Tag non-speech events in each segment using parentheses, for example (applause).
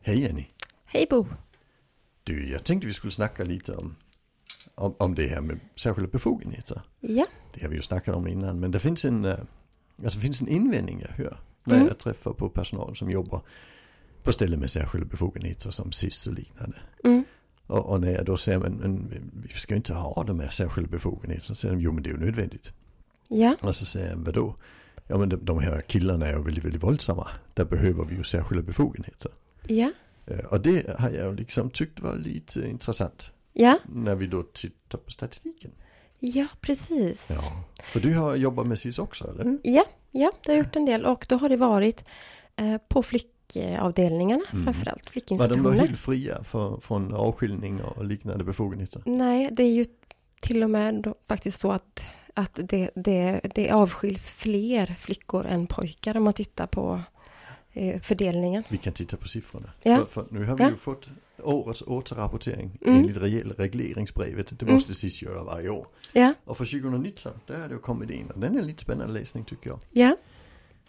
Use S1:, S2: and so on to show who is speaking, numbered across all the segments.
S1: Hej Jenny.
S2: Hej Bo!
S1: Du, jag tänkte vi skulle snacka lite om, om, om det här med särskilda befogenheter.
S2: Ja,
S1: Det har vi ju snackat om innan, men det finns en, eh, alltså det finns en invändning jag hör när
S2: Mm.
S1: jag träffar på personal som jobbar på ställen med särskilda befogenheter som SIS och liknande.
S2: mm.
S1: Och, och när jag då säger, men, men vi ska ju inte ha de här särskilda befogenheterna, så säger de, jo men det är ju nödvändigt.
S2: ja,
S1: Och så säger jag, vadå? Ja men de, de här killarna är ju väldigt, väldigt våldsamma. Där behöver vi ju särskilda befogenheter.
S2: ja,
S1: Eh, Och det har jag ju liksom tyckt var lite intressant.
S2: ja,
S1: När vi då tittar på statistiken.
S2: ja precis.
S1: Ja. För du har jobbat med SIS också eller?
S2: Ja, ja, det har jag gjort en del och då har det varit eh, på flickavdelningarna framförallt,
S1: Mm. Var de var
S2: flickinstitutioner.
S1: helt fria för, från avskiljning och liknande befogenheter?
S2: Nej, det är ju till och med då, faktiskt så att, att det, det, det avskiljs fler flickor än pojkar om man tittar på eh, fördelningen.
S1: Vi kan titta på siffrorna.
S2: Ja.
S1: För, för nu har vi
S2: Ja.
S1: ju fått årets återrapportering
S2: Mm.
S1: enligt regel- regleringsbrevet. Det måste SIS göra varje år.
S2: Ja,
S1: Och för 2019, där har det ju kommit in och den är lite spännande läsning tycker jag.
S2: ja,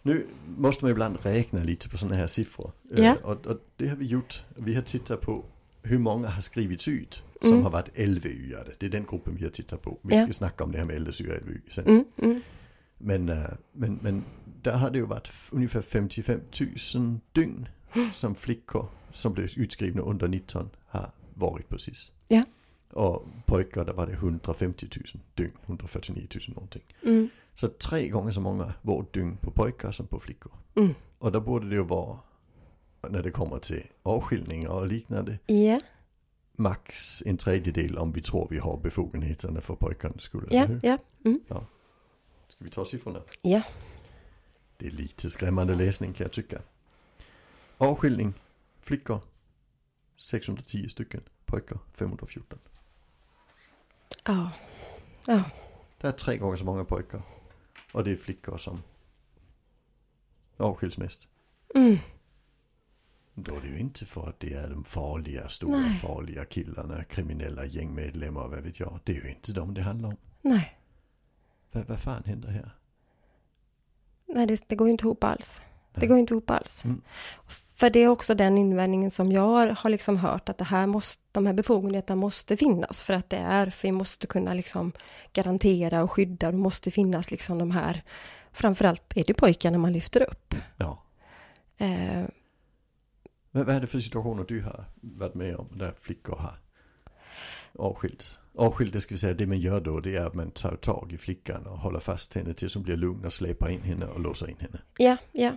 S1: Nu måste man ibland räkna lite på sådana här siffror.
S2: Ja.
S1: Eh, Och, och det har vi gjort. Vi har tittat på hur många har skrivits ut som
S2: Mm.
S1: har varit LVU-are. Det är den gruppen vi har tittat på. Vi
S2: Ja.
S1: ska snacka om det här med LSU och LVU sen.
S2: mm, mm,
S1: Men, eh, men, men där har det ju varit f- ungefär 55 000
S2: (gasps)
S1: dygn som flickor som blev utskrivna under 19 har varit precis.
S2: Ja.
S1: Och pojkar där var det 150 000 dygn, 149 000 någonting.
S2: mm,
S1: Så tre gånger så många vårddygn på pojkar som på flickor.
S2: mm.
S1: Och då borde det ju vara, när det kommer till avskiljningar och liknande,
S2: Ja,
S1: max en tredjedel om vi tror vi har befogenheterna för pojkarnas skull. eller
S2: ja,
S1: hur?
S2: ja, mm,
S1: Ska vi ta siffrorna?
S2: ja,
S1: Det är lite skrämmande läsning kan jag tycka. Avskiljning, flickor 610 stycken, pojkar 514.
S2: ja,
S1: Det är tre gånger så många pojkar. Och det är flickor som avskiljs mest.
S2: mm,
S1: Då är det ju inte för att det är de farliga, stora,
S2: Nej.
S1: farliga killarna, kriminella gängmedlemmar, vad vet jag. Det är ju inte dem det handlar om.
S2: nej,
S1: Vad, vad fan händer här?
S2: nej det, det går ju inte ihop alls. Det
S1: Nej.
S2: går ju inte ihop alls.
S1: Mm.
S2: För det är också den invändningen som jag har liksom hört att det här måste, de här befogenheterna måste finnas för att det är, för vi måste kunna liksom garantera och skydda, det måste finnas liksom de här, framförallt är det pojkarna man lyfter upp.
S1: Ja.
S2: Eh,
S1: Vad, vad är det för situationer du har varit med om där flickor har avskilts? Avskilt, det ska vi säga, det man gör då det är att man tar tag i flickan och håller fast henne tills hon blir lugn och släpar in henne och låser in henne.
S2: ja, ja.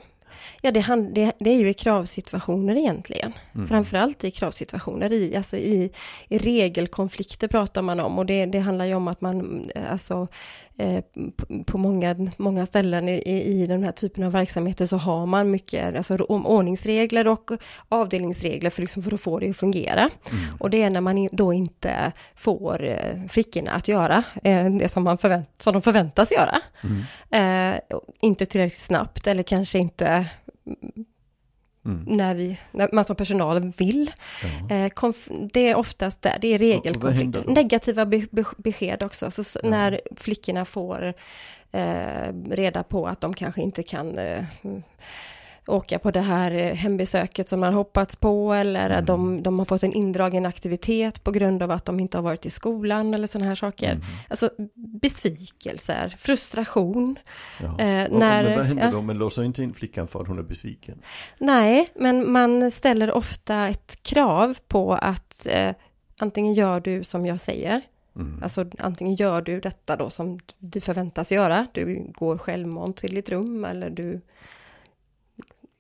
S2: Ja, det, hand, det, det är ju i kravsituationer egentligen.
S1: Mm.
S2: Framförallt i kravsituationer, i, alltså i, i regelkonflikter pratar man om. Och det, det handlar ju om att man, mm, alltså, eh, på, på många, många ställen i, i i den här typen av verksamheter så har man mycket, alltså om ordningsregler och avdelningsregler för, liksom för att få det att fungera.
S1: Mm.
S2: Och det är när man i- då inte får eh, flickorna att göra eh, det som, man förvänt, som de förväntas göra.
S1: Mm.
S2: Eh, och inte tillräckligt snabbt eller kanske inte
S1: Mm.
S2: när, vi, när man som personal vill.
S1: Ja.
S2: Eh, konf- det är oftast där, det är
S1: Och vad händer
S2: regelkonflikter.
S1: då?
S2: Negativa be- be- besked också, så, så, när flickorna får eh, reda på att de kanske inte kan eh, åka på det här eh, hembesöket som man hoppats på, eller att
S1: Mm.
S2: de, de har fått en indragen aktivitet på grund av att de inte har varit i skolan eller sådana här saker.
S1: Mm.
S2: Alltså besvikelser, frustration.
S1: Ja.
S2: Eh,
S1: och,
S2: när-
S1: men vad händer
S2: ja.
S1: då? Man låser inte in flickan för att hon är besviken.
S2: Nej, men man ställer ofta ett krav på att eh, antingen gör du som jag säger,
S1: Mm.
S2: alltså antingen gör du detta då som du förväntas göra, du går självmant till ditt rum eller du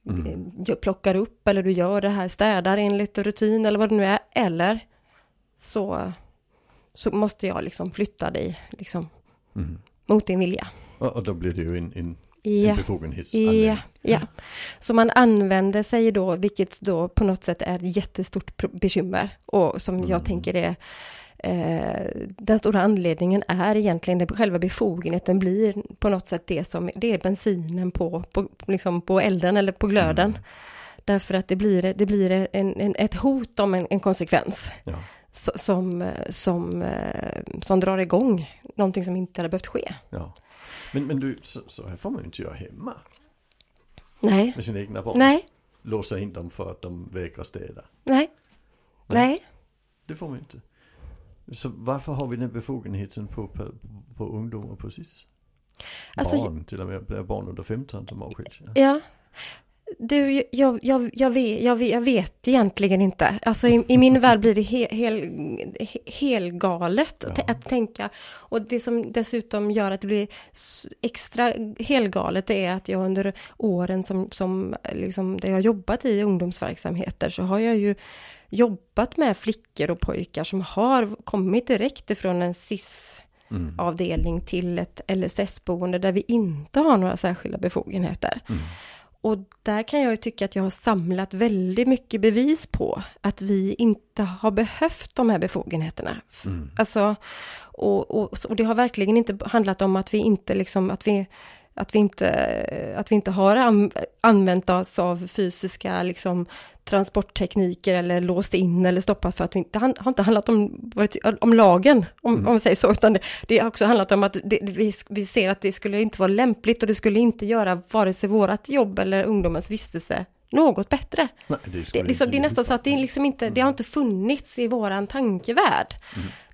S1: Mm.
S2: eh, plockar upp eller du gör det här, städar enligt rutin eller vad det nu är, eller så, så måste jag liksom flytta dig liksom,
S1: Mm.
S2: mot din vilja.
S1: Och, och då blir det ju en, en, en
S2: Ja.
S1: befogenhetsanvändning.
S2: Ja, ja. Så man använder sig då, vilket då på något sätt är ett jättestort pro- bekymmer. Och som jag tänker är, eh, den stora anledningen är egentligen det, själva befogenheten blir på något sätt det som, det är bensinen på, på, liksom på elden eller på glöden. Därför att det blir, det blir en, en, ett hot om en, en konsekvens
S1: Ja.
S2: so- som, eh, som, eh, som drar igång någonting som inte hade behövt ske.
S1: Ja. Men, men du, så, så här får man ju inte göra hemma
S2: Nej,
S1: med sina egna barn.
S2: nej,
S1: låsa in dem för att de vägrar städa.
S2: Nej.
S1: Nej.
S2: Nej.
S1: Det får man inte. Så varför har vi den befogenheten på, på, på ungdomar precis?
S2: Alltså,
S1: barn, till och med barn under 15 som avskiljs. Ja.
S2: Ja. Du, jag, jag, jag, vet, jag, vet, jag vet egentligen inte. Alltså i, i min värld blir det he, hel, he, helgalet att-
S1: Ja.
S2: att tänka. Och det som dessutom gör att det blir s- extra helgalet det är att jag under åren som, som liksom, där jag har jobbat i ungdomsverksamheter så har jag ju jobbat med flickor och pojkar som har kommit direkt ifrån en cis
S1: Mm.
S2: avdelning till ett LSS-boende där vi inte har några särskilda befogenheter. Och där kan jag ju tycka att jag har samlat väldigt mycket bevis på att vi inte har behövt de här befogenheterna. Alltså, och, och, och det har verkligen inte handlat om att vi inte liksom, att vi att vi inte, att vi inte har an, använt oss av fysiska liksom, transporttekniker eller låst in eller stoppat för att vi inte, det har inte handlat om, om lagen, om, om vi säger så, utan det, det har också handlat om att det, vi, vi ser att det skulle inte vara lämpligt och det skulle inte göra vare sig vårat jobb eller ungdomens vistelse något bättre.
S1: Nej, det,
S2: Det,
S1: skulle
S2: är liksom,
S1: inte-
S2: det är nästan så att det, är liksom inte, det har inte funnits i våran tankevärld.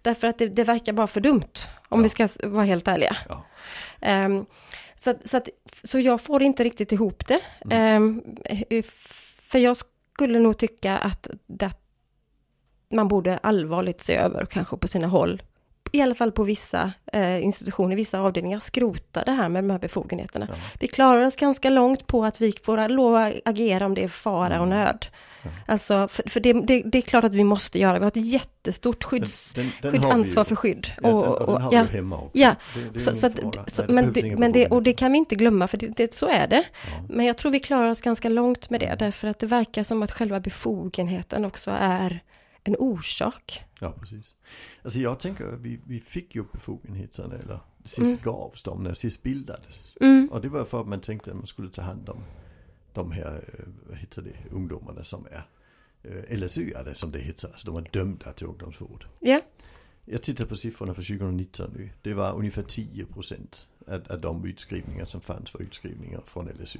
S2: Därför att det, det verkar bara för dumt, om vi ska s- vara helt ärliga.
S1: Ja.
S2: Ehm, så, att- så, att, så jag får inte riktigt ihop det. Ehm, för jag skulle nog tycka att det, man borde allvarligt se över, kanske på sina håll, i alla fall på vissa eh, institutioner, vissa avdelningar, skrota det här med de här befogenheterna.
S1: Ja.
S2: Vi klarar oss ganska långt på att vi får lov att agera om det är fara
S1: Mm.
S2: och nöd. Alltså, för, för det, det, det är klart att vi måste göra, vi har ett jättestort skydds,
S1: Den- den- den
S2: skydd,
S1: har vi ju.
S2: ansvar för skydd.
S1: Ja, den-
S2: och-
S1: och,
S2: och-
S1: den har
S2: ja.
S1: vi hemma också.
S2: Ja,
S1: Det- det är
S2: så,
S1: ingen
S2: så att,
S1: fara.
S2: så,
S1: Nej, det
S2: men
S1: behövs
S2: det,
S1: inga
S2: men det, och det
S1: befogenheter.
S2: kan vi inte glömma, för det, det, så är det. Men jag tror vi klarar oss ganska långt med det, därför att det verkar som att själva befogenheten också är en orsak.
S1: Ja, precis. Alltså jag tänker, att vi, vi fick ju befogenheterna, eller
S2: Mm.
S1: sist gavs de när sist bildades. Och det var för att man tänkte att man skulle ta hand om de här, eh, vad heter det, ungdomarna som är eh, LSU-are som det heter, alltså de är dömda till ungdomsvård.
S2: Ja,
S1: Jag tittar på siffrorna för 2019 nu. Det var ungefär 10 procent av, av de utskrivningar som fanns var utskrivningar från LSU.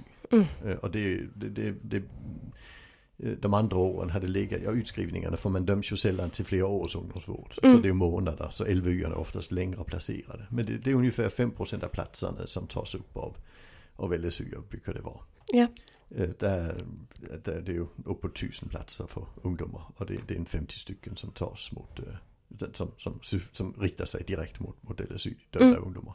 S1: Eh, Och det, det, det, det, eh, de andra åren hade legat, ja utskrivningarna för man döms ju sällan till flera års ungdomsvård. Så det är månader, så LVU-arna är oftast längre placerade. Men det, det är ungefär 5 procent av platserna som tas upp av, av LSU, brukar det vara.
S2: ja,
S1: Eh, Där, där det är ju uppåt tusen platser för ungdomar och det, det är en 50 stycken som tas mot, eh, den som, som, syf- som riktar sig direkt mot, mot LSU, dömda ungdomar.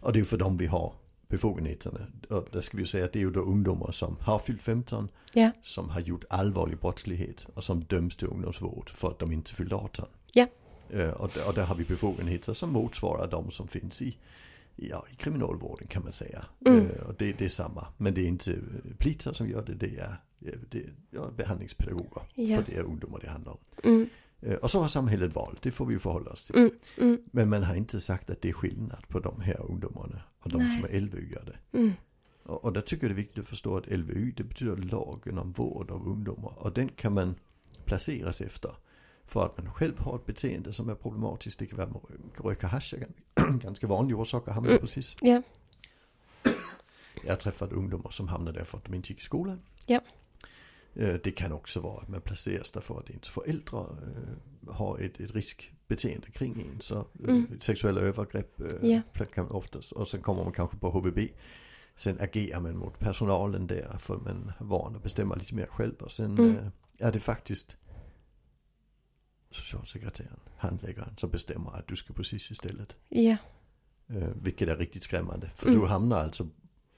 S1: Och det är ju för dem vi har befogenheterna. Och där ska vi ju säga att det är ju då ungdomar som har fyllt 15,
S2: ja,
S1: som har gjort allvarlig brottslighet och som döms till ungdomsvård för att de inte fyllde 18.
S2: ja,
S1: Eh, Och, där- och där har vi befogenheter som motsvarar de som finns i, i- ja, i kriminalvården kan man säga.
S2: Mm.
S1: Eh, Och det, det är samma, men det är inte eh, poliser som gör det, det är, eh, det är ja, behandlingspedagoger.
S2: Ja.
S1: För det är ungdomar det handlar om.
S2: mm,
S1: Eh, Och så har samhället valt, det får vi ju förhålla oss till.
S2: mm, mm,
S1: Men man har inte sagt att det är skillnad på de här ungdomarna och de
S2: Nej.
S1: som är LVU-ade.
S2: mm,
S1: Och, och där tycker jag det är viktigt att förstå att LVU det betyder lagen om vård av ungdomar. Och den kan man placeras efter. För att man själv har ett beteende som är problematiskt. Det kan vara att man röker hasch. är gan- (clears throat) Ganska vanlig orsak att hamna
S2: Mm.
S1: precis.
S2: ja,
S1: Jag har träffat ungdomar som hamnar där för att de inte gick i skolan.
S2: ja,
S1: Eh, Det kan också vara att man placeras där för att ens föräldrar eh, har ett, ett riskbeteende kring en. Så mm. sexuella övergrepp eh,
S2: Ja.
S1: kan oftast, och sen kommer man kanske på HVB. Sen agerar man mot personalen där för man är van att bestämma lite mer själv. Och sen
S2: Mm.
S1: eh, är det faktiskt socialsekreteraren, handläggaren som bestämmer att du ska på SIS istället.
S2: ja,
S1: Eh, vilket är riktigt skrämmande. För
S2: Mm.
S1: du hamnar alltså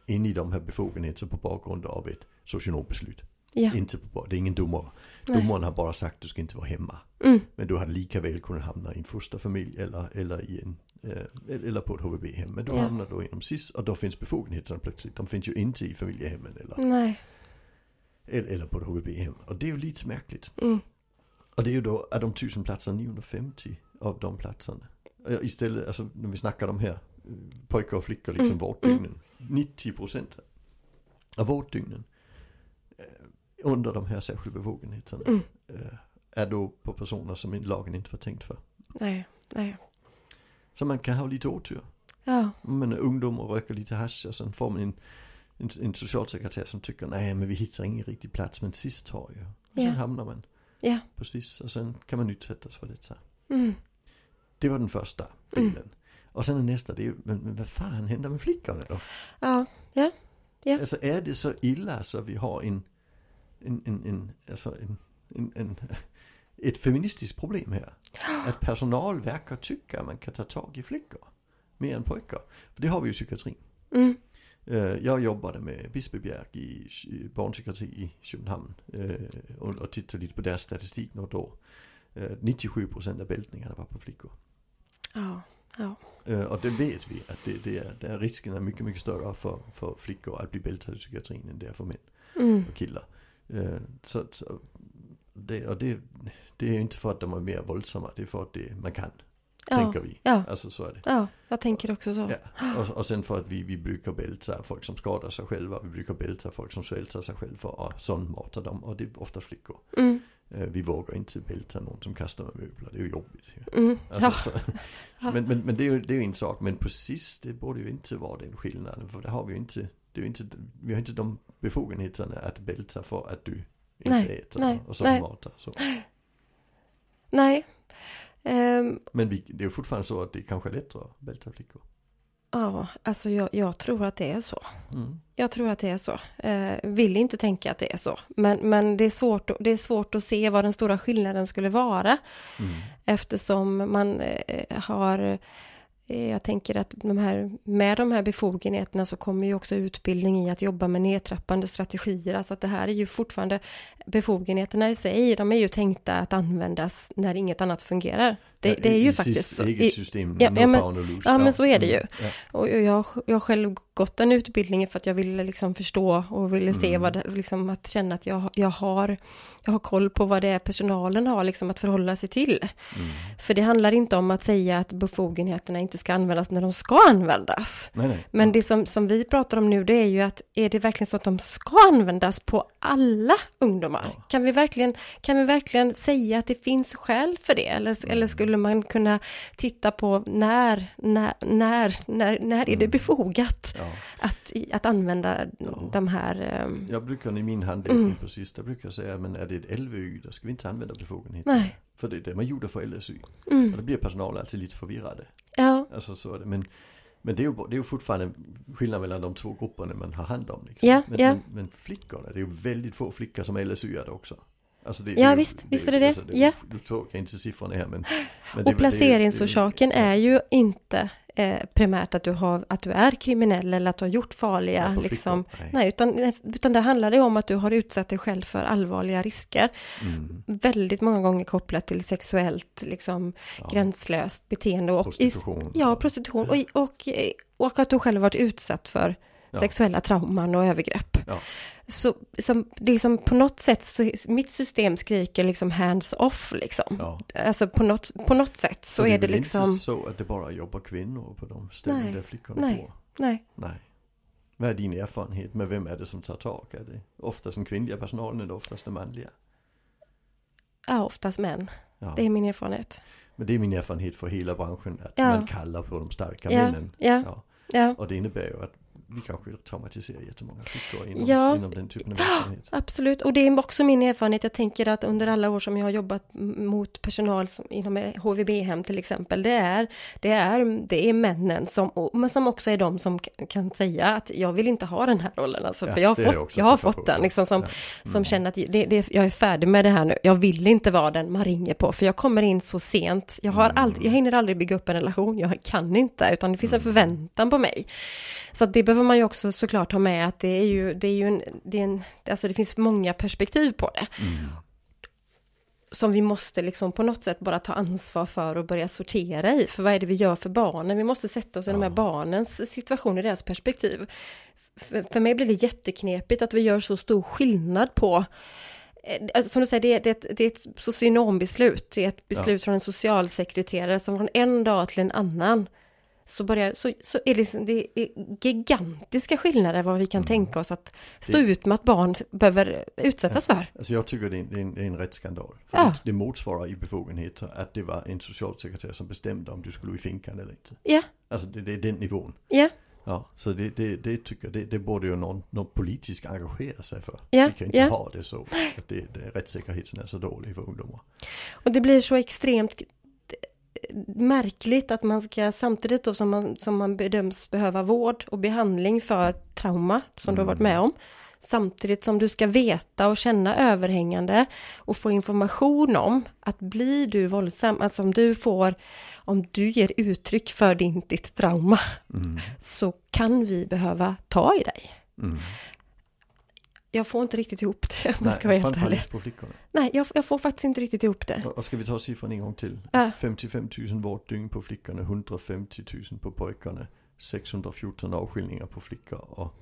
S1: in i de här befogenheterna på bakgrund av ett socionombeslut.
S2: ja,
S1: Inte på, bar- det är ingen domare.
S2: Nej.
S1: Domaren har bara sagt du ska inte vara hemma.
S2: mm,
S1: Men du hade lika väl kunnat hamna i en fosterfamilj eller, eller, i en, eh, eller på ett HVB-hem. Men du
S2: Ja.
S1: hamnar då inom SIS och då finns befogenheterna plötsligt. De finns ju inte i familjehemmen eller,
S2: nej,
S1: eller, eller på ett HVB-hem. Och det är ju lite märkligt.
S2: mm,
S1: Och det är ju då av de tusen platserna 950 av de platserna. Och jag- Istället, alltså när vi snackar om här, eh, pojkar och flickor
S2: Mm.
S1: liksom vårddygnen. 90 procent av vårddygnen eh, under de här särskilda befogenheterna
S2: Mm.
S1: eh, är då på personer som lagen inte var tänkt för.
S2: nej, nej,
S1: Så man kan ha lite otur.
S2: ja,
S1: Man är ungdom och röker lite hasch och sen får man en en, en socialsekreterare som tycker nej men vi hittar ingen riktig plats men sist tar jag. Och sen
S2: Ja.
S1: hamnar man
S2: Ja.
S1: precis och sen kan man utsättas för detta.
S2: Mm.
S1: Det var den första delen. Och sen den nästa det är ju, men, men vad fan händer med flickorna då?
S2: Ja. Ja. Ja.
S1: Alltså är det så illa så vi har en, en, en, en, alltså en, en, en ett feministiskt problem här. Att personal verkar tycka att man kan ta tag i flickor mer än pojkar. För det har vi ju i psykiatrin.
S2: Mm.
S1: Eh, Jag jobbade med Bispebjerg i i barnpsykiatri i Köpenhamn eh, och och tittade lite på deras statistik något år. Eh, 97% av bältningarna var på flickor.
S2: Ja. Ja.
S1: Eh, Och det vet vi att det, det är, där risken är mycket, mycket större för, för flickor att bli bältade i psykiatrin än det är för män
S2: Mm.
S1: och killar. Eh, Så, så det, och det, det är ju inte för att de är mer våldsamma, det är för att det, man kan,
S2: Ja.
S1: tänker vi.
S2: Ja.
S1: Alltså så är det.
S2: Ja. Jag tänker också så.
S1: Ja. Och, och sen för att vi, vi brukar bälta folk som skadar sig själva, vi brukar bälta folk som svälter sig själva och sånt matar dem och det är ofta flickor.
S2: Mm.
S1: Eh, Vi vågar inte bälta någon som kastar med möbler, det är ju jobbigt. ju.
S2: Mm.
S1: Alltså,
S2: Ja.
S1: (laughs) så, men men, men det, är ju, det är ju en sak, men precis det borde ju inte vara den skillnaden för det har vi ju inte, det är ju inte, vi har inte de befogenheterna att bälta för att du inte
S2: Nej,
S1: äter
S2: nej,
S1: och sånt
S2: nej.
S1: matar. Så.
S2: Nej. Ehm,
S1: Men vi, det är ju fortfarande så att det kanske är lättare att bälta flickor.
S2: ja, alltså jag, jag tror att det är så.
S1: Mm.
S2: Jag tror att det är så. Eh, vill inte tänka att det är så. Men, men det, är svårt, att- det är svårt att se vad den stora skillnaden skulle vara.
S1: Mm.
S2: Eftersom man eh, har... eh, Jag tänker att de här, med de här befogenheterna så kommer ju också utbildning i att jobba med nedtrappande strategier. Alltså att det här är ju fortfarande befogenheterna i sig. De är ju tänkta att användas när inget annat fungerar. Det,
S1: Ja,
S2: det är
S1: i-
S2: ju
S1: i
S2: faktiskt
S1: sitt
S2: så.
S1: eget
S2: I,
S1: system,
S2: ja,
S1: no
S2: ja, men-
S1: power, no lose.
S2: ja, men så är det ju.
S1: mm, Ja.
S2: och jag, har- jag har själv gått den utbildningen för att jag ville liksom förstå och ville se
S1: Mm.
S2: vad det, liksom att känna att jag, jag, har, jag har koll på vad det är personalen har liksom att förhålla sig till.
S1: Mm.
S2: För det handlar inte om att säga att befogenheterna inte ska användas när de ska användas.
S1: Nej, nej.
S2: Men det som, som vi pratar om nu, det är ju att är det verkligen så att de ska användas på alla ungdomar?
S1: Ja.
S2: Kan, vi verkligen, kan vi verkligen säga att det finns skäl för det? Eller,
S1: Mm.
S2: eller skulle man kunna titta på när, när, när, när, när är det befogat
S1: Ja.
S2: att, att använda
S1: Mm. Ja.
S2: de här... ehm,
S1: Jag brukar i min handledning
S2: Mm.
S1: precis, där brukar jag säga, men är det ett LVU, då ska vi inte använda befogenheter.
S2: Nej. Mm.
S1: För det är det man gjorde för LSU. Och då blir personal alltid lite förvirrade.
S2: Ja,
S1: Alltså så är det. Men, men det, är ju, det är ju fortfarande skillnad mellan de två grupperna man har hand om. Liksom.
S2: Ja,
S1: men,
S2: ja.
S1: Men, men flickorna, det är ju väldigt få flickor som är LSU-are också. Alltså det,
S2: Ja, visst, visst är det det.
S1: Alltså
S2: Ja.
S1: Du såg jag inte siffrorna här men. men det- det är ju-
S2: och placeringsorsaken
S1: det är ju-
S2: är ju inte eh, primärt att du, har, att du är kriminell eller att du har gjort
S1: ja,
S2: farliga
S1: på flickor.
S2: liksom,
S1: Nej.
S2: Nej, utan, utan det handlar det om att du har utsatt dig själv för allvarliga risker.
S1: Mm.
S2: Väldigt många gånger kopplat till sexuellt liksom,
S1: Ja.
S2: gränslöst beteende. Och,
S1: Prostitution.
S2: ja, prostitution. Och, och, eh, och att du själv varit utsatt för
S1: Ja.
S2: sexuella trauman och övergrepp.
S1: Ja.
S2: Så som, det är som på något sätt, så, mitt system skriker liksom hands off liksom.
S1: Ja.
S2: Alltså på något, på något sätt så, är det
S1: väl
S2: liksom,
S1: inte så att det bara jobbar kvinnor på de ställen
S2: Nej,
S1: där flickorna
S2: nej.
S1: bor?
S2: nej,
S1: Nej. Vad är din erfarenhet med vem är det som tar tag? Är det oftast den kvinnliga personalen eller oftast den manliga?
S2: ja, oftast män.
S1: Ja.
S2: Det är min erfarenhet.
S1: Men det är min erfarenhet för hela branschen att
S2: Ja.
S1: man kallar på de starka
S2: Ja,
S1: männen.
S2: ja,
S1: Ja.
S2: ja.
S1: Och det innebär ju att vi kanske traumatiserar jättemånga flickor inom,
S2: Ja.
S1: inom den typen av verksamhet.
S2: Absolut, och det är också min erfarenhet. Jag tänker att under alla år som jag har jobbat m- mot personal som, inom HVB-hem till exempel, det är, det är, det är männen som, och- men som också är de som k- kan säga att jag vill inte ha den här rollen. Alltså,
S1: Ja,
S2: för jag har
S1: det har jag
S2: fått,
S1: också
S2: jag har
S1: träffat på.
S2: fått den, liksom, som,
S1: Ja. Mm.
S2: som känner att det, det, jag är färdig med det här nu. Jag vill inte vara den man ringer på, för jag kommer in så sent. Jag, har
S1: Mm.
S2: aldrig, jag hinner aldrig bygga upp en relation, jag kan inte, utan det finns en
S1: Mm.
S2: förväntan på mig. Så att det behöver man ju också såklart ha med att det är ju, det är ju en, det är en, alltså det finns många perspektiv på det. Som vi måste liksom på något sätt bara ta ansvar för och börja sortera i. För vad är det vi gör för barnen? Vi måste sätta oss i de här barnens situation, i deras perspektiv. För, för mig blir det jätteknepigt att vi gör så stor skillnad på eh, alltså, som du säger, det är, det, är ett, det är ett socionombeslut, det är ett beslut från en socialsekreterare som från en dag till en annan så, börjar, så, så är det, liksom, det är gigantiska skillnader vad vi kan tänka oss att stå ut med att barn behöver utsättas för.
S1: Alltså jag tycker det är en, det är en, det är en rätt skandal. För
S2: Ja.
S1: det- Det motsvarar i befogenheter att det var en socialsekreterare som bestämde om du skulle i finkan eller inte.
S2: Ja,
S1: Alltså det, det är den nivån.
S2: ja,
S1: Ja, så det, det, det tycker jag, det, det borde ju någon, någon politiskt engagera sig för.
S2: Ja,
S1: Vi kan inte
S2: ja.
S1: ha det så, att det, det, rättssäkerheten är så dålig för ungdomar.
S2: Och det blir så extremt eh, märkligt att man ska samtidigt då som man, som man bedöms behöva vård och behandling för trauma som du har varit med om. Samtidigt som du ska veta och känna överhängande och få information om att blir du våldsam, alltså om du får, om du ger uttryck för din, ditt trauma så kan vi behöva ta i dig.
S1: Mm.
S2: Jag får inte riktigt ihop det om jag ska vara
S1: Nej,
S2: helt
S1: framför
S2: ärlig.
S1: allt på flickorna.
S2: Nej, jag, jag får faktiskt inte riktigt ihop det.
S1: Och och ska vi ta siffran en gång till?
S2: Ja.
S1: 55 000 vårddygn på flickorna, 150 000 på pojkarna, 614 avskiljningar på flickor och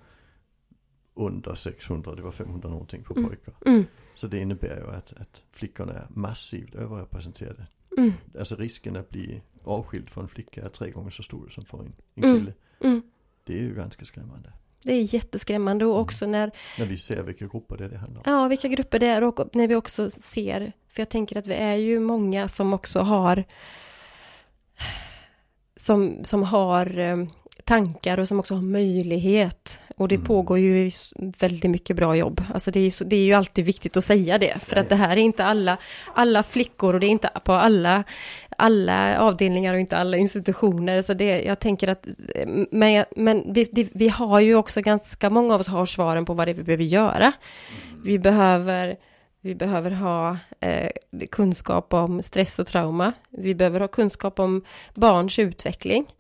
S1: under 600, det var 500 någonting på pojkar.
S2: Mm.
S1: Så det innebär ju att, att flickorna är massivt överrepresenterade.
S2: Mm.
S1: Alltså risken att bli avskild från en flicka är tre gånger så stor som för en, en
S2: Mm.
S1: kille.
S2: Mm.
S1: Det är ju ganska skrämmande.
S2: Det är jätteskrämmande och också när,
S1: När vi ser vilka grupper det, är det handlar om.
S2: ja vilka grupper det är och när vi också ser, för jag tänker att vi är ju många som också har, som, som har eh, tankar och som också har möjlighet. Och det
S1: Mm.
S2: pågår ju s- väldigt mycket bra jobb. Alltså det är, ju så, det är ju alltid viktigt att säga det, för
S1: Ja,
S2: att det här är inte alla, alla flickor och det är inte på alla, alla avdelningar och inte alla institutioner. Så det, jag tänker att, eh, men, jag- men det, det, vi har ju också ganska många av oss har svaren på vad det är vi behöver göra. Mm. Vi behöver, vi behöver ha eh, kunskap om stress och trauma. Vi behöver ha kunskap om barns utveckling.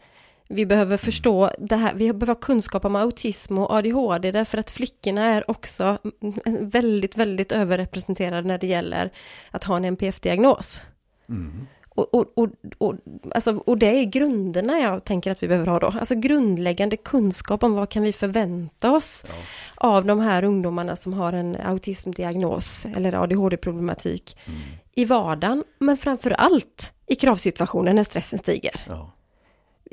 S2: Vi behöver förstå det här, vi behöver ha kunskap om autism och ADHD därför att flickorna är också mm, väldigt, väldigt överrepresenterade när det gäller att ha en NPF-diagnos.
S1: Mm.
S2: Och, och, och, och, alltså, och det är grunderna jag tänker att vi behöver ha då. Alltså grundläggande kunskap om vad kan vi förvänta oss
S1: Ja.
S2: av de här ungdomarna som har en autismdiagnos eller ADHD-problematik
S1: Mm.
S2: i vardagen, men framför allt i kravsituationen när stressen stiger.
S1: Ja.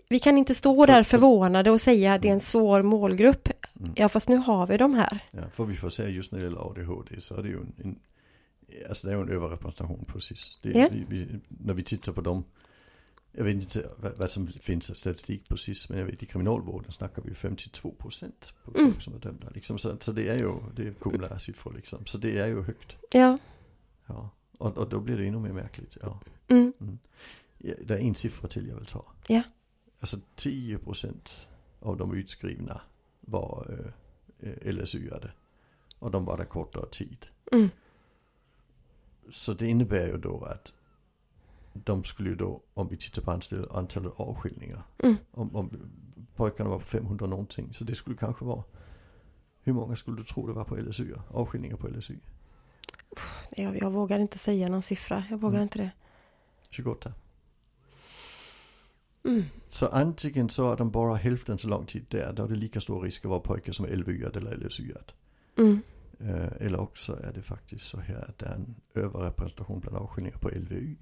S2: Vi kan inte stå där förvånade och säga att det är
S1: Mm.
S2: en svår målgrupp. Ja, fast nu har vi dem här.
S1: Ja, för vi får se just när det gäller ADHD så är det ju en, en, alltså det är ju en överrepresentation precis. Det,
S2: Ja.
S1: vi, vi, när vi tittar på dem, jag vet inte vad, vad som finns av statistik precis, men jag vet i kriminalvården snackar vi ju 52 procent på folk som är dömda. Liksom. Så, så det är ju, det är kumla siffror liksom, så det är ju högt.
S2: Ja,
S1: Ja. Och, och då blir det ännu mer märkligt. Ja.
S2: mm,
S1: Ja, Det är en siffra till jag vill ta.
S2: Ja.
S1: Alltså 10% av de utskrivna var eh, eh, LSU-ade. Och de var där kortare tid.
S2: Mm.
S1: Så det innebär ju då att de skulle ju då, om vi tittar på antal- antalet avskiljningar.
S2: Mm.
S1: Om, om pojkarna var på 500 någonting. Så det skulle kanske vara, hur många skulle du tro det var på LSU? Avskiljningar på LSU?
S2: jag, jag vågar inte säga någon siffra. Jag vågar
S1: Mm.
S2: inte det.
S1: 28.
S2: Mm.
S1: Så antingen så är de bara hälften så lång tid där, då är det lika stor risk att vara pojke som är LVU-ad eller LSU-ad.
S2: Mm.
S1: Eh, Eller också är det faktiskt så här att det är en överrepresentation bland avskiljningar på LVU.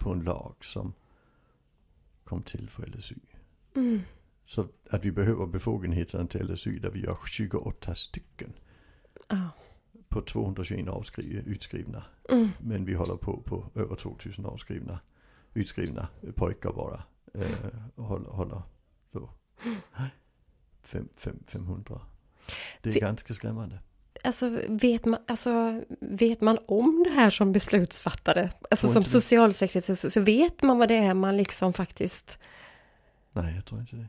S1: På en lag som kom till för LSU.
S2: Mm.
S1: Så att vi behöver befogenheterna till LSU där vi gör 28 stycken
S2: Ja.
S1: på 221 avskri- utskrivna.
S2: Mm.
S1: Men vi håller på på över 2000 avskrivna, utskrivna pojkar bara. Eh, och håller, håller då fem, fem, 500. Det är
S2: Fi-
S1: ganska skrämmande.
S2: Alltså, vet man, alltså, vet man om det här som beslutsfattare? Alltså
S1: Tror
S2: som
S1: inte det.
S2: socialsekreterare, så, så vet man vad det är man liksom faktiskt...
S1: Nej, jag tror inte det.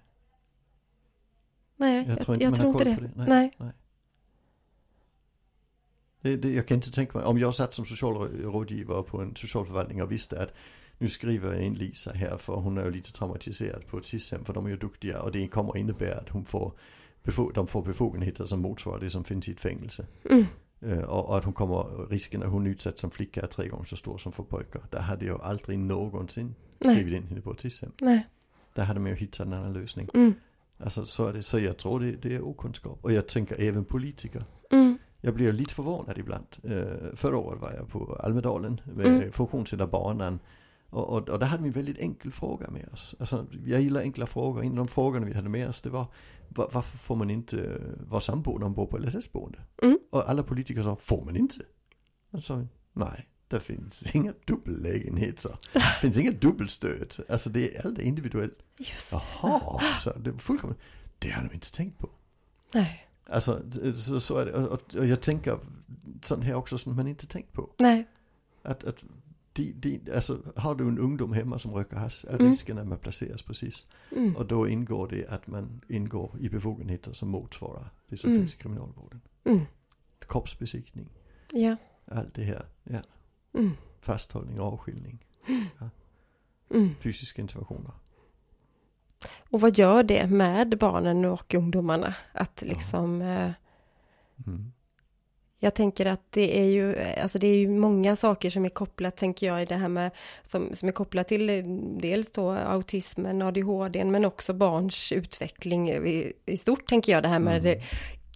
S2: Nej,
S1: Jag tror inte
S2: jag
S1: man
S2: tror
S1: har
S2: inte
S1: koll
S2: det.
S1: på det. Nej.
S2: Nej.
S1: Det, det. Jag kan inte tänka mig, om jag satt som socialrådgivare på en socialförvaltning och visste att nu skriver jag in Lisa här för hon är ju lite traumatiserad på ett SIS-hem för de är ju duktiga och det kommer innebära att hon får, befo- de får befogenheter som motsvarar det som finns i ett fängelse.
S2: Mm.
S1: Eh, Och och att hon kommer, risken att hon utsätts som flicka är tre gånger så stor som för pojkar. Där hade jag aldrig någonsin
S2: Nej.
S1: skrivit in henne på ett SIS-hem.
S2: Nej.
S1: Där hade man ju hittat en annan lösning.
S2: Mm.
S1: Alltså så är det, så jag tror det, det är okunskap. Och jag tänker även politiker.
S2: Mm.
S1: Jag blir lite förvånad ibland. Eh, förra året var jag på Almedalen med
S2: Mm.
S1: funktionshinderbanan. Och, och, och där hade vi en väldigt enkel fråga med oss. Alltså, jag gillar enkla frågor. En av de frågorna vi hade med oss det var va- varför får man inte eh, vara sambo när man bor på LSS-boende?
S2: Mm.
S1: Och alla politiker sa, får man inte? Och så sa vi, nej, det finns (laughs) inga dubbellägenheter. Det finns inga dubbelstöd. Alltså det är allt är individuellt.
S2: Just det.
S1: Jaha, så det är fullkomligt. Det hade vi inte tänkt på.
S2: Nej.
S1: Alltså, så, så är det. Och, och jag tänker sånt här också som man inte tänkt på.
S2: Nej.
S1: Att, att de, de, alltså, har du en ungdom hemma som röker hasch är
S2: Mm.
S1: risken att man placeras precis.
S2: Mm.
S1: Och då ingår det att man ingår i befogenheter som motsvarar det som
S2: Mm.
S1: finns i kriminalvården.
S2: Mm.
S1: Kroppsbesiktning,
S2: Ja.
S1: allt det här. Ja.
S2: Mm.
S1: Fasthållning, avskiljning,
S2: Mm.
S1: fysiska interventioner.
S2: Och vad gör det med barnen och ungdomarna? Att liksom... Eh,
S1: Mm.
S2: Jag tänker att det är ju, alltså det är ju många saker som är kopplat, tänker jag, i det här med, som, som är kopplat till eh, dels då autismen, ADHD, men också barns utveckling i, i stort, tänker jag, det här
S1: Mm.
S2: med det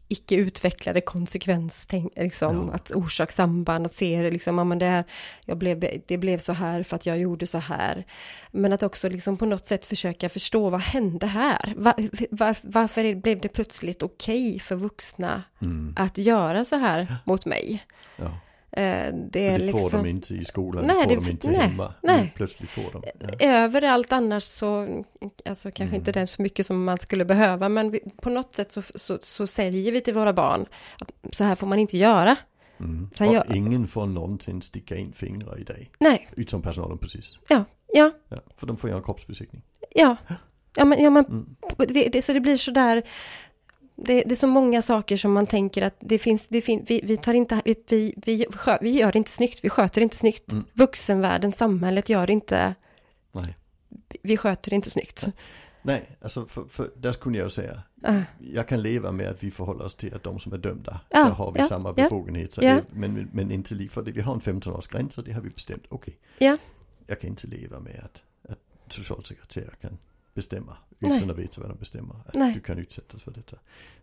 S2: icke utvecklade konsekvens, tänk, liksom,
S1: Ja.
S2: att orsakssamband, att se det liksom, ja, men det, här, jag blev, det blev så här för att jag gjorde så här. Men att också liksom på något sätt försöka förstå, vad hände här? Va- var, varför är- blev det plötsligt okej för vuxna
S1: Mm.
S2: att göra så här mot mig.
S1: Ja.
S2: Eh, Det
S1: För
S2: är
S1: det får de
S2: liksom
S1: inte i skolan,
S2: Nej,
S1: det får
S2: det-
S1: de inte
S2: nej,
S1: hemma.
S2: nej.
S1: Men plötsligt får de. Ja.
S2: överallt annars så, alltså kanske inte det
S1: Mm.
S2: är så mycket som man skulle behöva, men vi, på något sätt så, så, så säger vi till våra barn att så här får man inte göra.
S1: Mm.
S2: Så jag-
S1: Och ingen får någonsin sticka in fingrar i dig.
S2: Nej,
S1: Utom personalen precis.
S2: ja, ja,
S1: Ja. För de får göra en kroppsbesiktning.
S2: ja, ja, men, ja, men
S1: Mm.
S2: det, det, så det blir så där, det, det är så många saker som man tänker att det finns, det fin, vi, vi tar inte, vi, vi, vi, skö, vi gör det inte snyggt, vi sköter inte snyggt.
S1: Mm.
S2: Vuxenvärlden, samhället gör inte,
S1: Nej.
S2: vi sköter inte snyggt.
S1: Nej, alltså för, för, där kunde jag säga.
S2: Ah.
S1: Jag kan leva med att vi förhåller oss till att de som är dömda,
S2: Ja,
S1: där har vi
S2: ja,
S1: samma
S2: ja,
S1: befogenheter.
S2: ja.
S1: Det- Men, men inte liv för det. Vi har en 15-årsgräns och det har vi bestämt. Okej,
S2: Ja.
S1: jag kan inte leva med att, att socialsekreterare kan bestämma
S2: Nej.
S1: utan att veta vad de bestämmer. Att
S2: Nej.
S1: du kan utsättas för detta.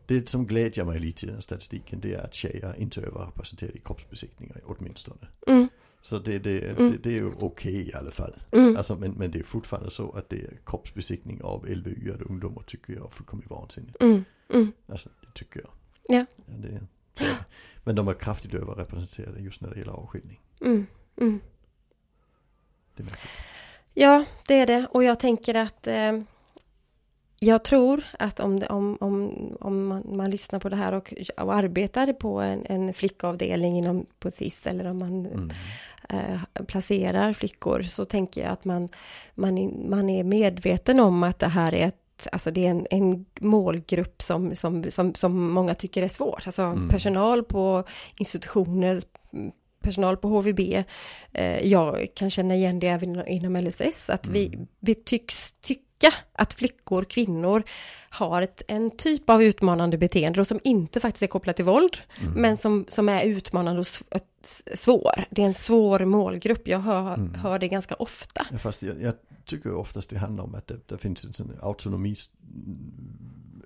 S1: Det som glädjer mig lite i den statistiken det är att tjejer inte är överrepresenterade i kroppsbesiktningar åtminstone.
S2: Mm,
S1: Så det, det, det, det är ju okej i alla fall.
S2: mm.
S1: Alltså, men, men det är fortfarande så att det är kroppsbesiktning av LVU-ade ungdomar tycker jag är fullkomligt vansinnigt.
S2: Mm, mm,
S1: Alltså det tycker jag.
S2: Ja.
S1: det, så är det. Men de är kraftigt överrepresenterade just när det gäller avskiljning.
S2: mm, mm.
S1: Det märker jag.
S2: Ja, det är det. Och jag tänker att eh, jag tror att om, det, om, om, om man, man lyssnar på det här och, och arbetar på en, en flickavdelning inom, på SIS eller om man
S1: Mm.
S2: eh, placerar flickor så tänker jag att man, man, är- man är medveten om att det här är ett Alltså det är en, en målgrupp som, som, som, som många tycker är svår. Alltså
S1: Mm.
S2: personal på institutioner, mm, personal på HVB. Eh, jag kan känna igen det även inom LSS, att vi, vi tycks tycka att flickor, kvinnor har ett, en typ av utmanande beteende och som inte faktiskt är kopplat till våld
S1: Mm.
S2: men som, som är utmanande och sv- s- svår. Det är en svår målgrupp, jag hör, hör det ganska ofta.
S1: Ja, fast jag, jag tycker ju oftast det handlar om att det, det finns en sån autonomist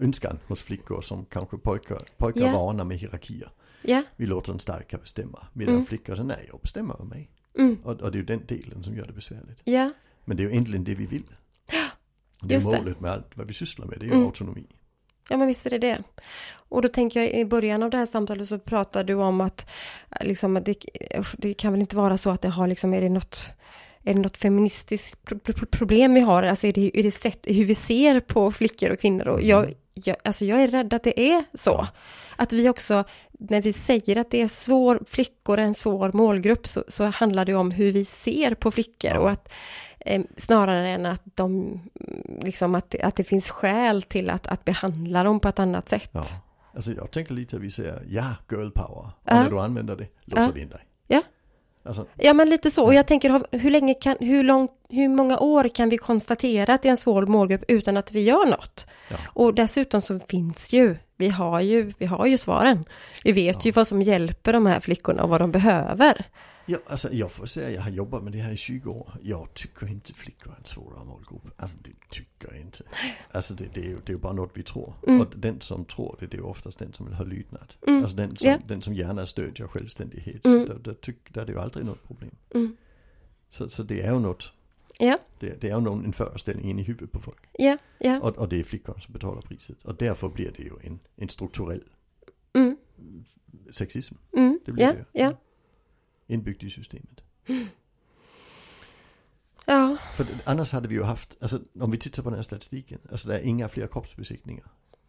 S1: önskan hos flickor som kanske pojkar, pojkar
S2: Ja.
S1: varnar med hierarkier.
S2: Ja,
S1: Vi låter den starka bestämma. Medan
S2: Mm.
S1: flickor säger nej, jag bestämmer över mig.
S2: Mm.
S1: Och, och det är ju den delen som gör det besvärligt.
S2: ja,
S1: Men det är ju egentligen det vi
S2: (gasps)
S1: vill. Det
S2: Just
S1: är
S2: det.
S1: målet med allt vad vi sysslar med, det är ju
S2: Mm.
S1: autonomi.
S2: ja men visst är det det. Och då tänker jag i början av det här samtalet så pratade du om att eh, liksom, att det, usch, det kan väl inte vara så att det har liksom, är det något är det något feministiskt pro- pro- problem vi har? Alltså är det, är det sätt, hur vi ser på flickor och kvinnor? Och jag, jag, alltså jag är rädd att det är så. Att vi också, när vi säger att det är svår, flickor är en svår målgrupp, så, så handlar det om hur vi ser på flickor och att eh, snarare än att de, mm, liksom att, att det finns skäl till att, att behandla dem på ett annat sätt.
S1: Ja. Alltså jag tänker lite att vi säger ja, girl power. Och
S2: Ja.
S1: när du använder det låser vi in dig.
S2: Ja.
S1: Alltså,
S2: Ja, men lite så. Och jag tänker, har- hur, länge kan, hur, lång, hur många år kan vi konstatera att det är en svår målgrupp utan att vi gör något?
S1: Ja.
S2: Och dessutom så finns ju, vi har ju, vi har ju svaren. Vi vet ju vad som hjälper de här flickorna och vad de behöver.
S1: ja, alltså jag får säga jag har jobbat med det här i 20 år. Jag tycker inte flickor är en svårare målgrupp. Alltså det tycker jag inte. Alltså det, det, är, ju, det är ju bara något vi tror.
S2: Mm.
S1: Och den som tror det, det är ju oftast den som vill ha lydnad. Alltså den som,
S2: Ja.
S1: den som gärna stödjer självständighet. Där, där, tyck, där är det ju aldrig något problem.
S2: Mm.
S1: Så, så det är ju något,
S2: Ja,
S1: det, det är ju någon, en föreställning in i huvudet på folk.
S2: ja, ja.
S1: Och, och det är flickan som betalar priset. Och därför blir det ju en, en strukturell
S2: Mm,
S1: sexism
S2: mm,
S1: Det blir
S2: ja,
S1: det ju.
S2: ja,
S1: inbyggd i systemet.
S2: ja,
S1: För det- annars hade vi ju haft, alltså om vi tittar på den här statistiken, alltså det är inga fler kroppsbesiktningar.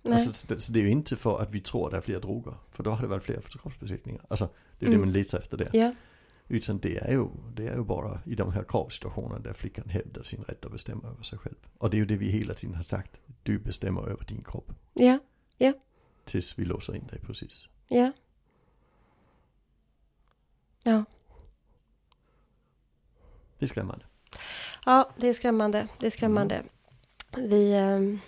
S2: Nej.
S1: Alltså, det, så det är ju inte för att vi tror att det är fler droger. För då har det varit fler kroppsbesiktningar. Alltså det är det
S2: Mm.
S1: man letar efter där.
S2: Ja,
S1: Utan det är, ju, det är ju bara i de här kravsituationerna där flickan hävdar sin rätt att bestämma över sig själv. Och det är ju det vi hela tiden har sagt. Du bestämmer över din kropp.
S2: ja,
S1: Tills vi låser in dig precis.
S2: ja. Ja,
S1: Det är skrämmande.
S2: ja det är skrämmande. Det är skrämmande.
S1: Mm.
S2: Vi, ehm,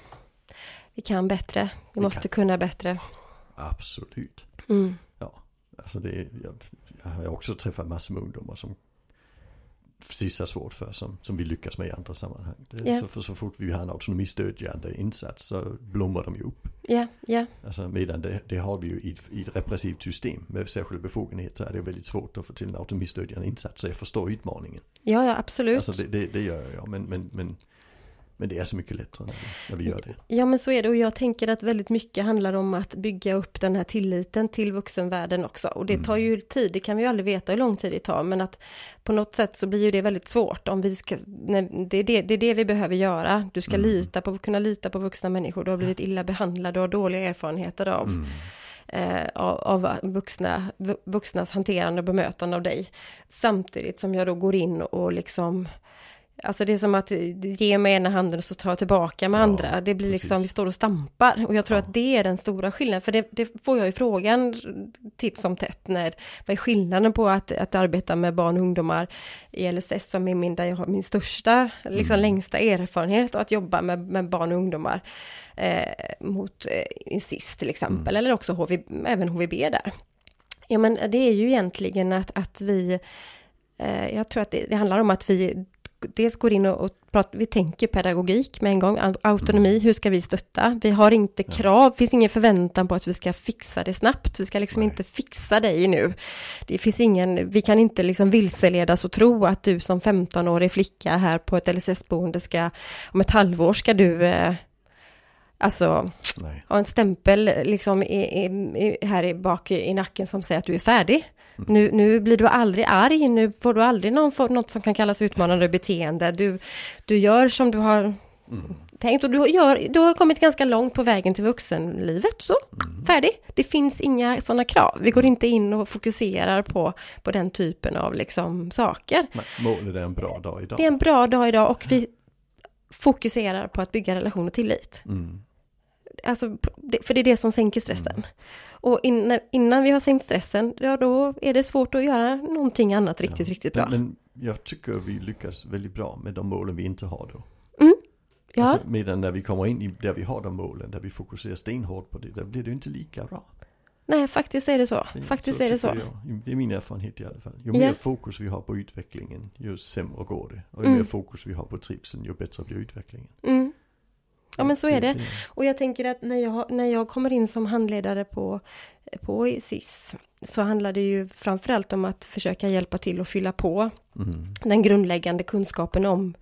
S2: vi kan bättre. Vi
S1: kan.
S2: måste kunna bättre.
S1: Absolut.
S2: Mm.
S1: Alltså det är, jag, jag har också träffat massor med ungdomar som precis är svårt för, som, som vi lyckas med i andra sammanhang. Det,
S2: Ja.
S1: så, för, så fort vi har en autonomistödjande insats så blommar de ju upp.
S2: Ja, ja,
S1: Alltså medan det, det har vi ju i, ett- i ett repressivt system med särskilda befogenheter är det väldigt svårt att få till en autonomistödjande insats. Så jag förstår utmaningen.
S2: ja, ja absolut.
S1: Alltså det, det, det gör jag, men, men, men, men det är så mycket lättare när vi, när vi gör det.
S2: Ja, men så är det. Och jag tänker att väldigt mycket handlar om att bygga upp den här tilliten till vuxenvärlden också. Och det tar
S1: Mm.
S2: ju tid, det kan vi ju aldrig veta hur lång tid det tar, men att på något sätt så blir ju det väldigt svårt om vi ska, när, det, är det, det är det vi behöver göra. Du ska
S1: Mm.
S2: lita på, kunna lita på vuxna människor, du har blivit illa behandlad, du har dåliga erfarenheter av,
S1: Mm.
S2: eh, av, av vuxna, vu- vuxnas hanterande och bemötande av dig. Samtidigt som jag då går in och liksom Alltså det är som att eh, ge med ena handen och så ta tillbaka med
S1: Ja,
S2: andra. Det blir liksom,
S1: precis.
S2: vi står och stampar. Och jag tror att det är den stora skillnaden. För det, det får jag ju frågan titt som tätt. När, vad är skillnaden på att, att arbeta med barn och ungdomar i LSS som är min, där jag har min största, liksom längsta erfarenhet. Och att jobba med, med barn och ungdomar eh, mot eh, insist till exempel. Eller också HV, även HVB där. Ja men det är ju egentligen att, att vi Eh, Jag tror att det, det handlar om att vi dels går in och, och pratar, vi tänker pedagogik med en gång, au- autonomi, hur ska vi stötta? Vi har inte krav, finns ingen förväntan på att vi ska fixa det snabbt, vi ska liksom
S1: Nej.
S2: inte fixa dig nu. Det finns ingen, vi kan inte liksom vilseledas och tro att du som 15-årig flicka här på ett LSS-boende ska, om ett halvår ska du, eh, alltså,
S1: Nej.
S2: ha en stämpel liksom i, i, i, här i bak i, i nacken som säger att du är färdig. Nu, nu blir du aldrig arg, nu får du aldrig någon, får något som kan kallas utmanande beteende. Du, du gör som du har tänkt och du, gör, du har kommit ganska långt på vägen till vuxenlivet. Så, färdig. Det finns inga sådana krav. Vi går inte in och fokuserar på, på den typen av liksom, saker.
S1: Nej. Målet är en bra dag idag.
S2: Det är en bra dag idag och vi fokuserar på att bygga relation och tillit
S1: Mm.
S2: alltså, det- för det är det som sänker stressen. Och innan, innan vi har sänkt stressen, ja då är det svårt att göra någonting annat riktigt, riktigt bra.
S1: Men jag tycker vi lyckas väldigt bra med de målen vi inte har då.
S2: ja,
S1: Alltså, medan när vi kommer in i där vi har de målen, där vi fokuserar stenhårt på det, där blir det ju inte lika bra.
S2: nej, faktiskt är det så. Faktiskt är det så.
S1: Mm, tycker Jag, det är min erfarenhet i alla fall. Ju
S2: Ja.
S1: mer fokus vi har på utvecklingen, ju sämre går det. Och ju mer fokus vi har på trivseln, ju bättre blir utvecklingen.
S2: Mm. Ja, men så är det.
S1: det
S2: Och jag tänker att när jag, när jag kommer in som handledare på, på SIS så handlar det ju framförallt om att försöka hjälpa till och fylla på
S1: mm.
S2: den grundläggande kunskapen om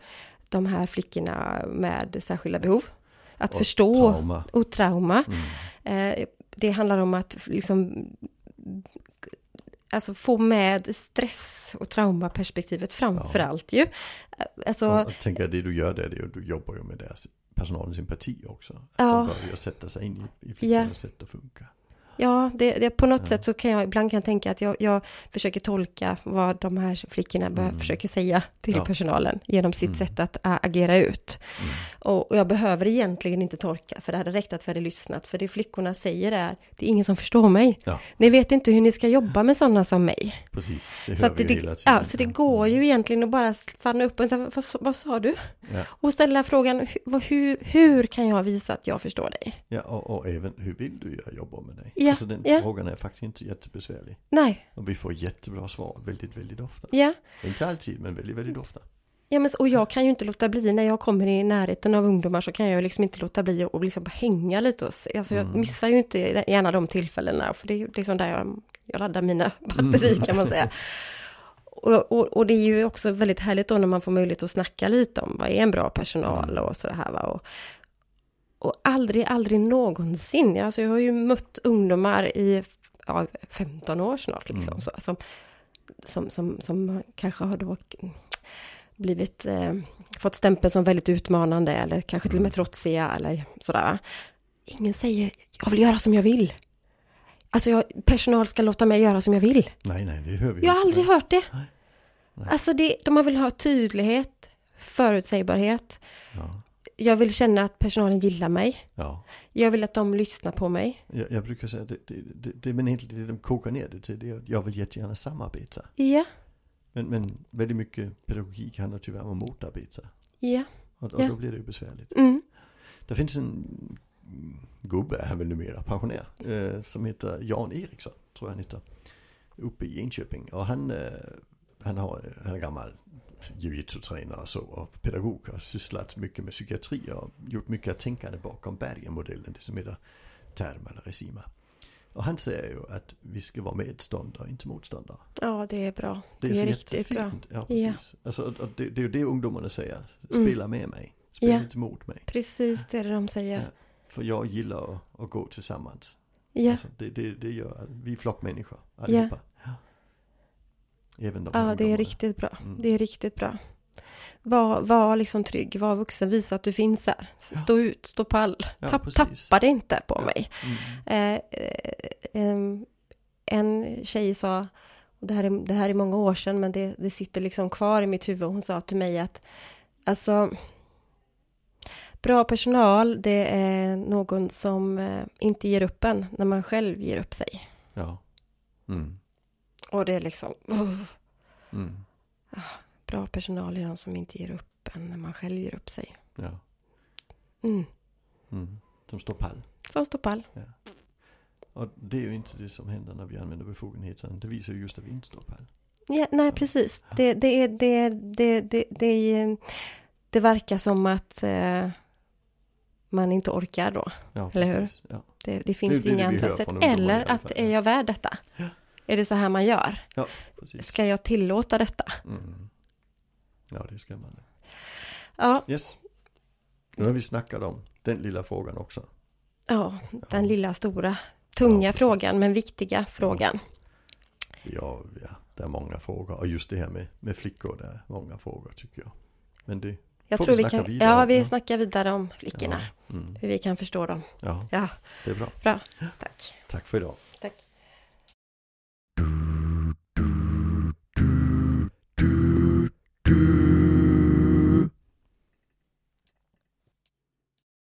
S2: de här flickorna med särskilda behov. Att
S1: Och
S2: förstå
S1: trauma. Mm.
S2: och trauma. Eh, det handlar om att liksom Alltså få med stress och traumaperspektivet framför
S1: Ja.
S2: allt ju. Eh, Alltså,
S1: Och, och tänker jag, det du gör där, det är ju att du jobbar ju med deras personalens empati också. Att
S2: Ja.
S1: de börjar sätta sig in i, i
S2: Ja.
S1: flickornas sätt att funka.
S2: Ja, det, det, på något sätt så kan jag, ibland kan jag tänka att jag, jag försöker tolka vad de här flickorna be- försöker säga till
S1: Ja.
S2: personalen genom sitt sätt att ä, agera ut.
S1: Mm.
S2: Och, och jag behöver egentligen inte tolka, för det hade räckt att vi hade lyssnat, för det flickorna säger är, det är ingen som förstår mig.
S1: Ja,
S2: Ni vet inte hur ni ska jobba med sådana som mig.
S1: precis. Det
S2: Så,
S1: hör
S2: att
S1: vi
S2: det,
S1: ju hela
S2: det,
S1: tiden.
S2: ja, så det går ju egentligen att bara stanna upp och säga, vad, sa- vad sa du?
S1: Ja.
S2: Och ställa frågan, "Hu- vad- hur, hur kan jag visa att jag förstår dig?
S1: Ja, och, och även hur vill du jag jobbar med dig?
S2: Ja,
S1: alltså den
S2: ja.
S1: frågan är faktiskt inte jättebesvärlig.
S2: Nej,
S1: Och vi får jättebra svar väldigt, väldigt ofta.
S2: ja.
S1: Inte alltid, men väldigt, väldigt ofta.
S2: Ja, men, s- och jag kan ju inte låta bli, när jag kommer i närheten av ungdomar så kan jag ju liksom inte låta bli att- att liksom bara hänga lite och se. Alltså, jag
S1: Mm.
S2: missar ju inte gärna de tillfällena, för det är ju liksom där jag, jag laddar mina (laughs) batterier kan man säga. Och, och, och det är ju också väldigt härligt då när man får möjlighet att snacka lite om vad är en bra personal och sådär här va. Och, och aldrig, aldrig någonsin, alltså jag har ju mött ungdomar i ja, 15 år snart liksom, så, som, som, som, som kanske har då blivit, eh, fått stämpeln som väldigt utmanande eller kanske till och med trotsiga eller sådär. ingen säger jag vill göra som jag vill. Alltså jag, personal ska låta mig göra som jag vill.
S1: Nej, nej, det hör vi
S2: Jag
S1: ju.
S2: har aldrig hört det.
S1: Nej. Nej.
S2: Alltså det, de har vill ha tydlighet, förutsägbarhet.
S1: Ja,
S2: Jag vill känna att personalen gillar mig.
S1: ja.
S2: Jag vill att de lyssnar på mig.
S1: Jag, jag brukar säga det, det, det, det men egentligen det de kokar ner det till det är att jag vill jättegärna samarbeta.
S2: Ja,
S1: Men, men väldigt mycket pedagogik handlar tyvärr om att motarbeta.
S2: ja.
S1: Och, och
S2: Ja.
S1: då blir det ju besvärligt.
S2: Mm.
S1: Det finns en gubbe, han är väl numera pensionär, eh, som heter Jan Eriksson, tror jag han heter. Uppe i Enköping. Och han, eh, han, har, han är gammal jujutsu-tränare och så, och pedagog. Har sysslat mycket med psykiatri och gjort mycket av tänkandet bakom Bergen-modellen, det som heter term eller resima. Och han säger ju att vi ska vara medståndare, inte motståndare.
S2: Ja, det är bra. Det är,
S1: så
S2: riktigt bra. Mm.
S1: jättefint. Ja, precis. Alltså, och- och det, det är ju det ungdomarna säger. Spela med mig. Spela
S2: Ja.
S1: inte mot mig.
S2: Precis det är det de säger.
S1: För jag gillar att, att gå tillsammans.
S2: Ja,
S1: Alltså, det, det, det gör vi är flockmänniskor allihopa. Ja. Även de
S2: ja det
S1: ungdomarna.
S2: är riktigt bra.
S1: Mm.
S2: Det är riktigt bra. Var, var liksom trygg, var vuxen, visa att du finns här. Stå ut, stå pall.
S1: Ja,
S2: Tapp,
S1: precis.
S2: tappa det inte på
S1: Ja.
S2: mig.
S1: Mm.
S2: Eh, eh, em, en tjej sa, och det här, är, det här är många år sedan, men det, det sitter liksom kvar i mitt huvud. Hon sa till mig att, alltså, bra personal, det är någon som eh, inte ger upp en när man själv ger upp sig.
S1: Ja. Mm.
S2: Och det är liksom, "Ugh,
S1: Mm.
S2: bra personal är de som inte ger upp en när man själv ger upp sig.
S1: Ja.
S2: Mm.
S1: Mm. De står pall.
S2: Som står pall.
S1: Och det är ju inte det som händer när vi använder befogenheten. Det visar ju just att vi inte står pall.
S2: Ja, nej, precis. Det, det, är, det, det, det, det, är- det verkar som att eh, man inte orkar då.
S1: Ja,
S2: Eller hur?
S1: precis. Ja.
S2: Det, det finns
S1: det vi
S2: inga
S1: hör
S2: andra
S1: från
S2: sätt.
S1: ungdomarna i alla
S2: Eller att
S1: fall,
S2: är
S1: ja.
S2: jag värd detta?
S1: Ja.
S2: Är det så här man gör?
S1: ja, precis.
S2: Ska jag tillåta detta?
S1: Mm. Ja, det är skrämmande.
S2: Ja,
S1: Yes. Nu har vi snackat om den lilla frågan också.
S2: ja den lilla stora, tunga
S1: Ja, precis.
S2: frågan, men viktiga frågan.
S1: Ja, ja, det är många frågor. Och just det här med, med flickor, det är många frågor tycker jag. Men det
S2: Jag
S1: Får
S2: tror
S1: vi
S2: vi
S1: snacka
S2: kan,
S1: vidare
S2: ja,
S1: om-
S2: vi
S1: ja.
S2: snackar vidare om flickorna,
S1: Ja, mm,
S2: hur vi kan förstå dem.
S1: ja,
S2: Ja,
S1: det är bra.
S2: bra. Tack.
S1: Tack för idag.
S2: Tack.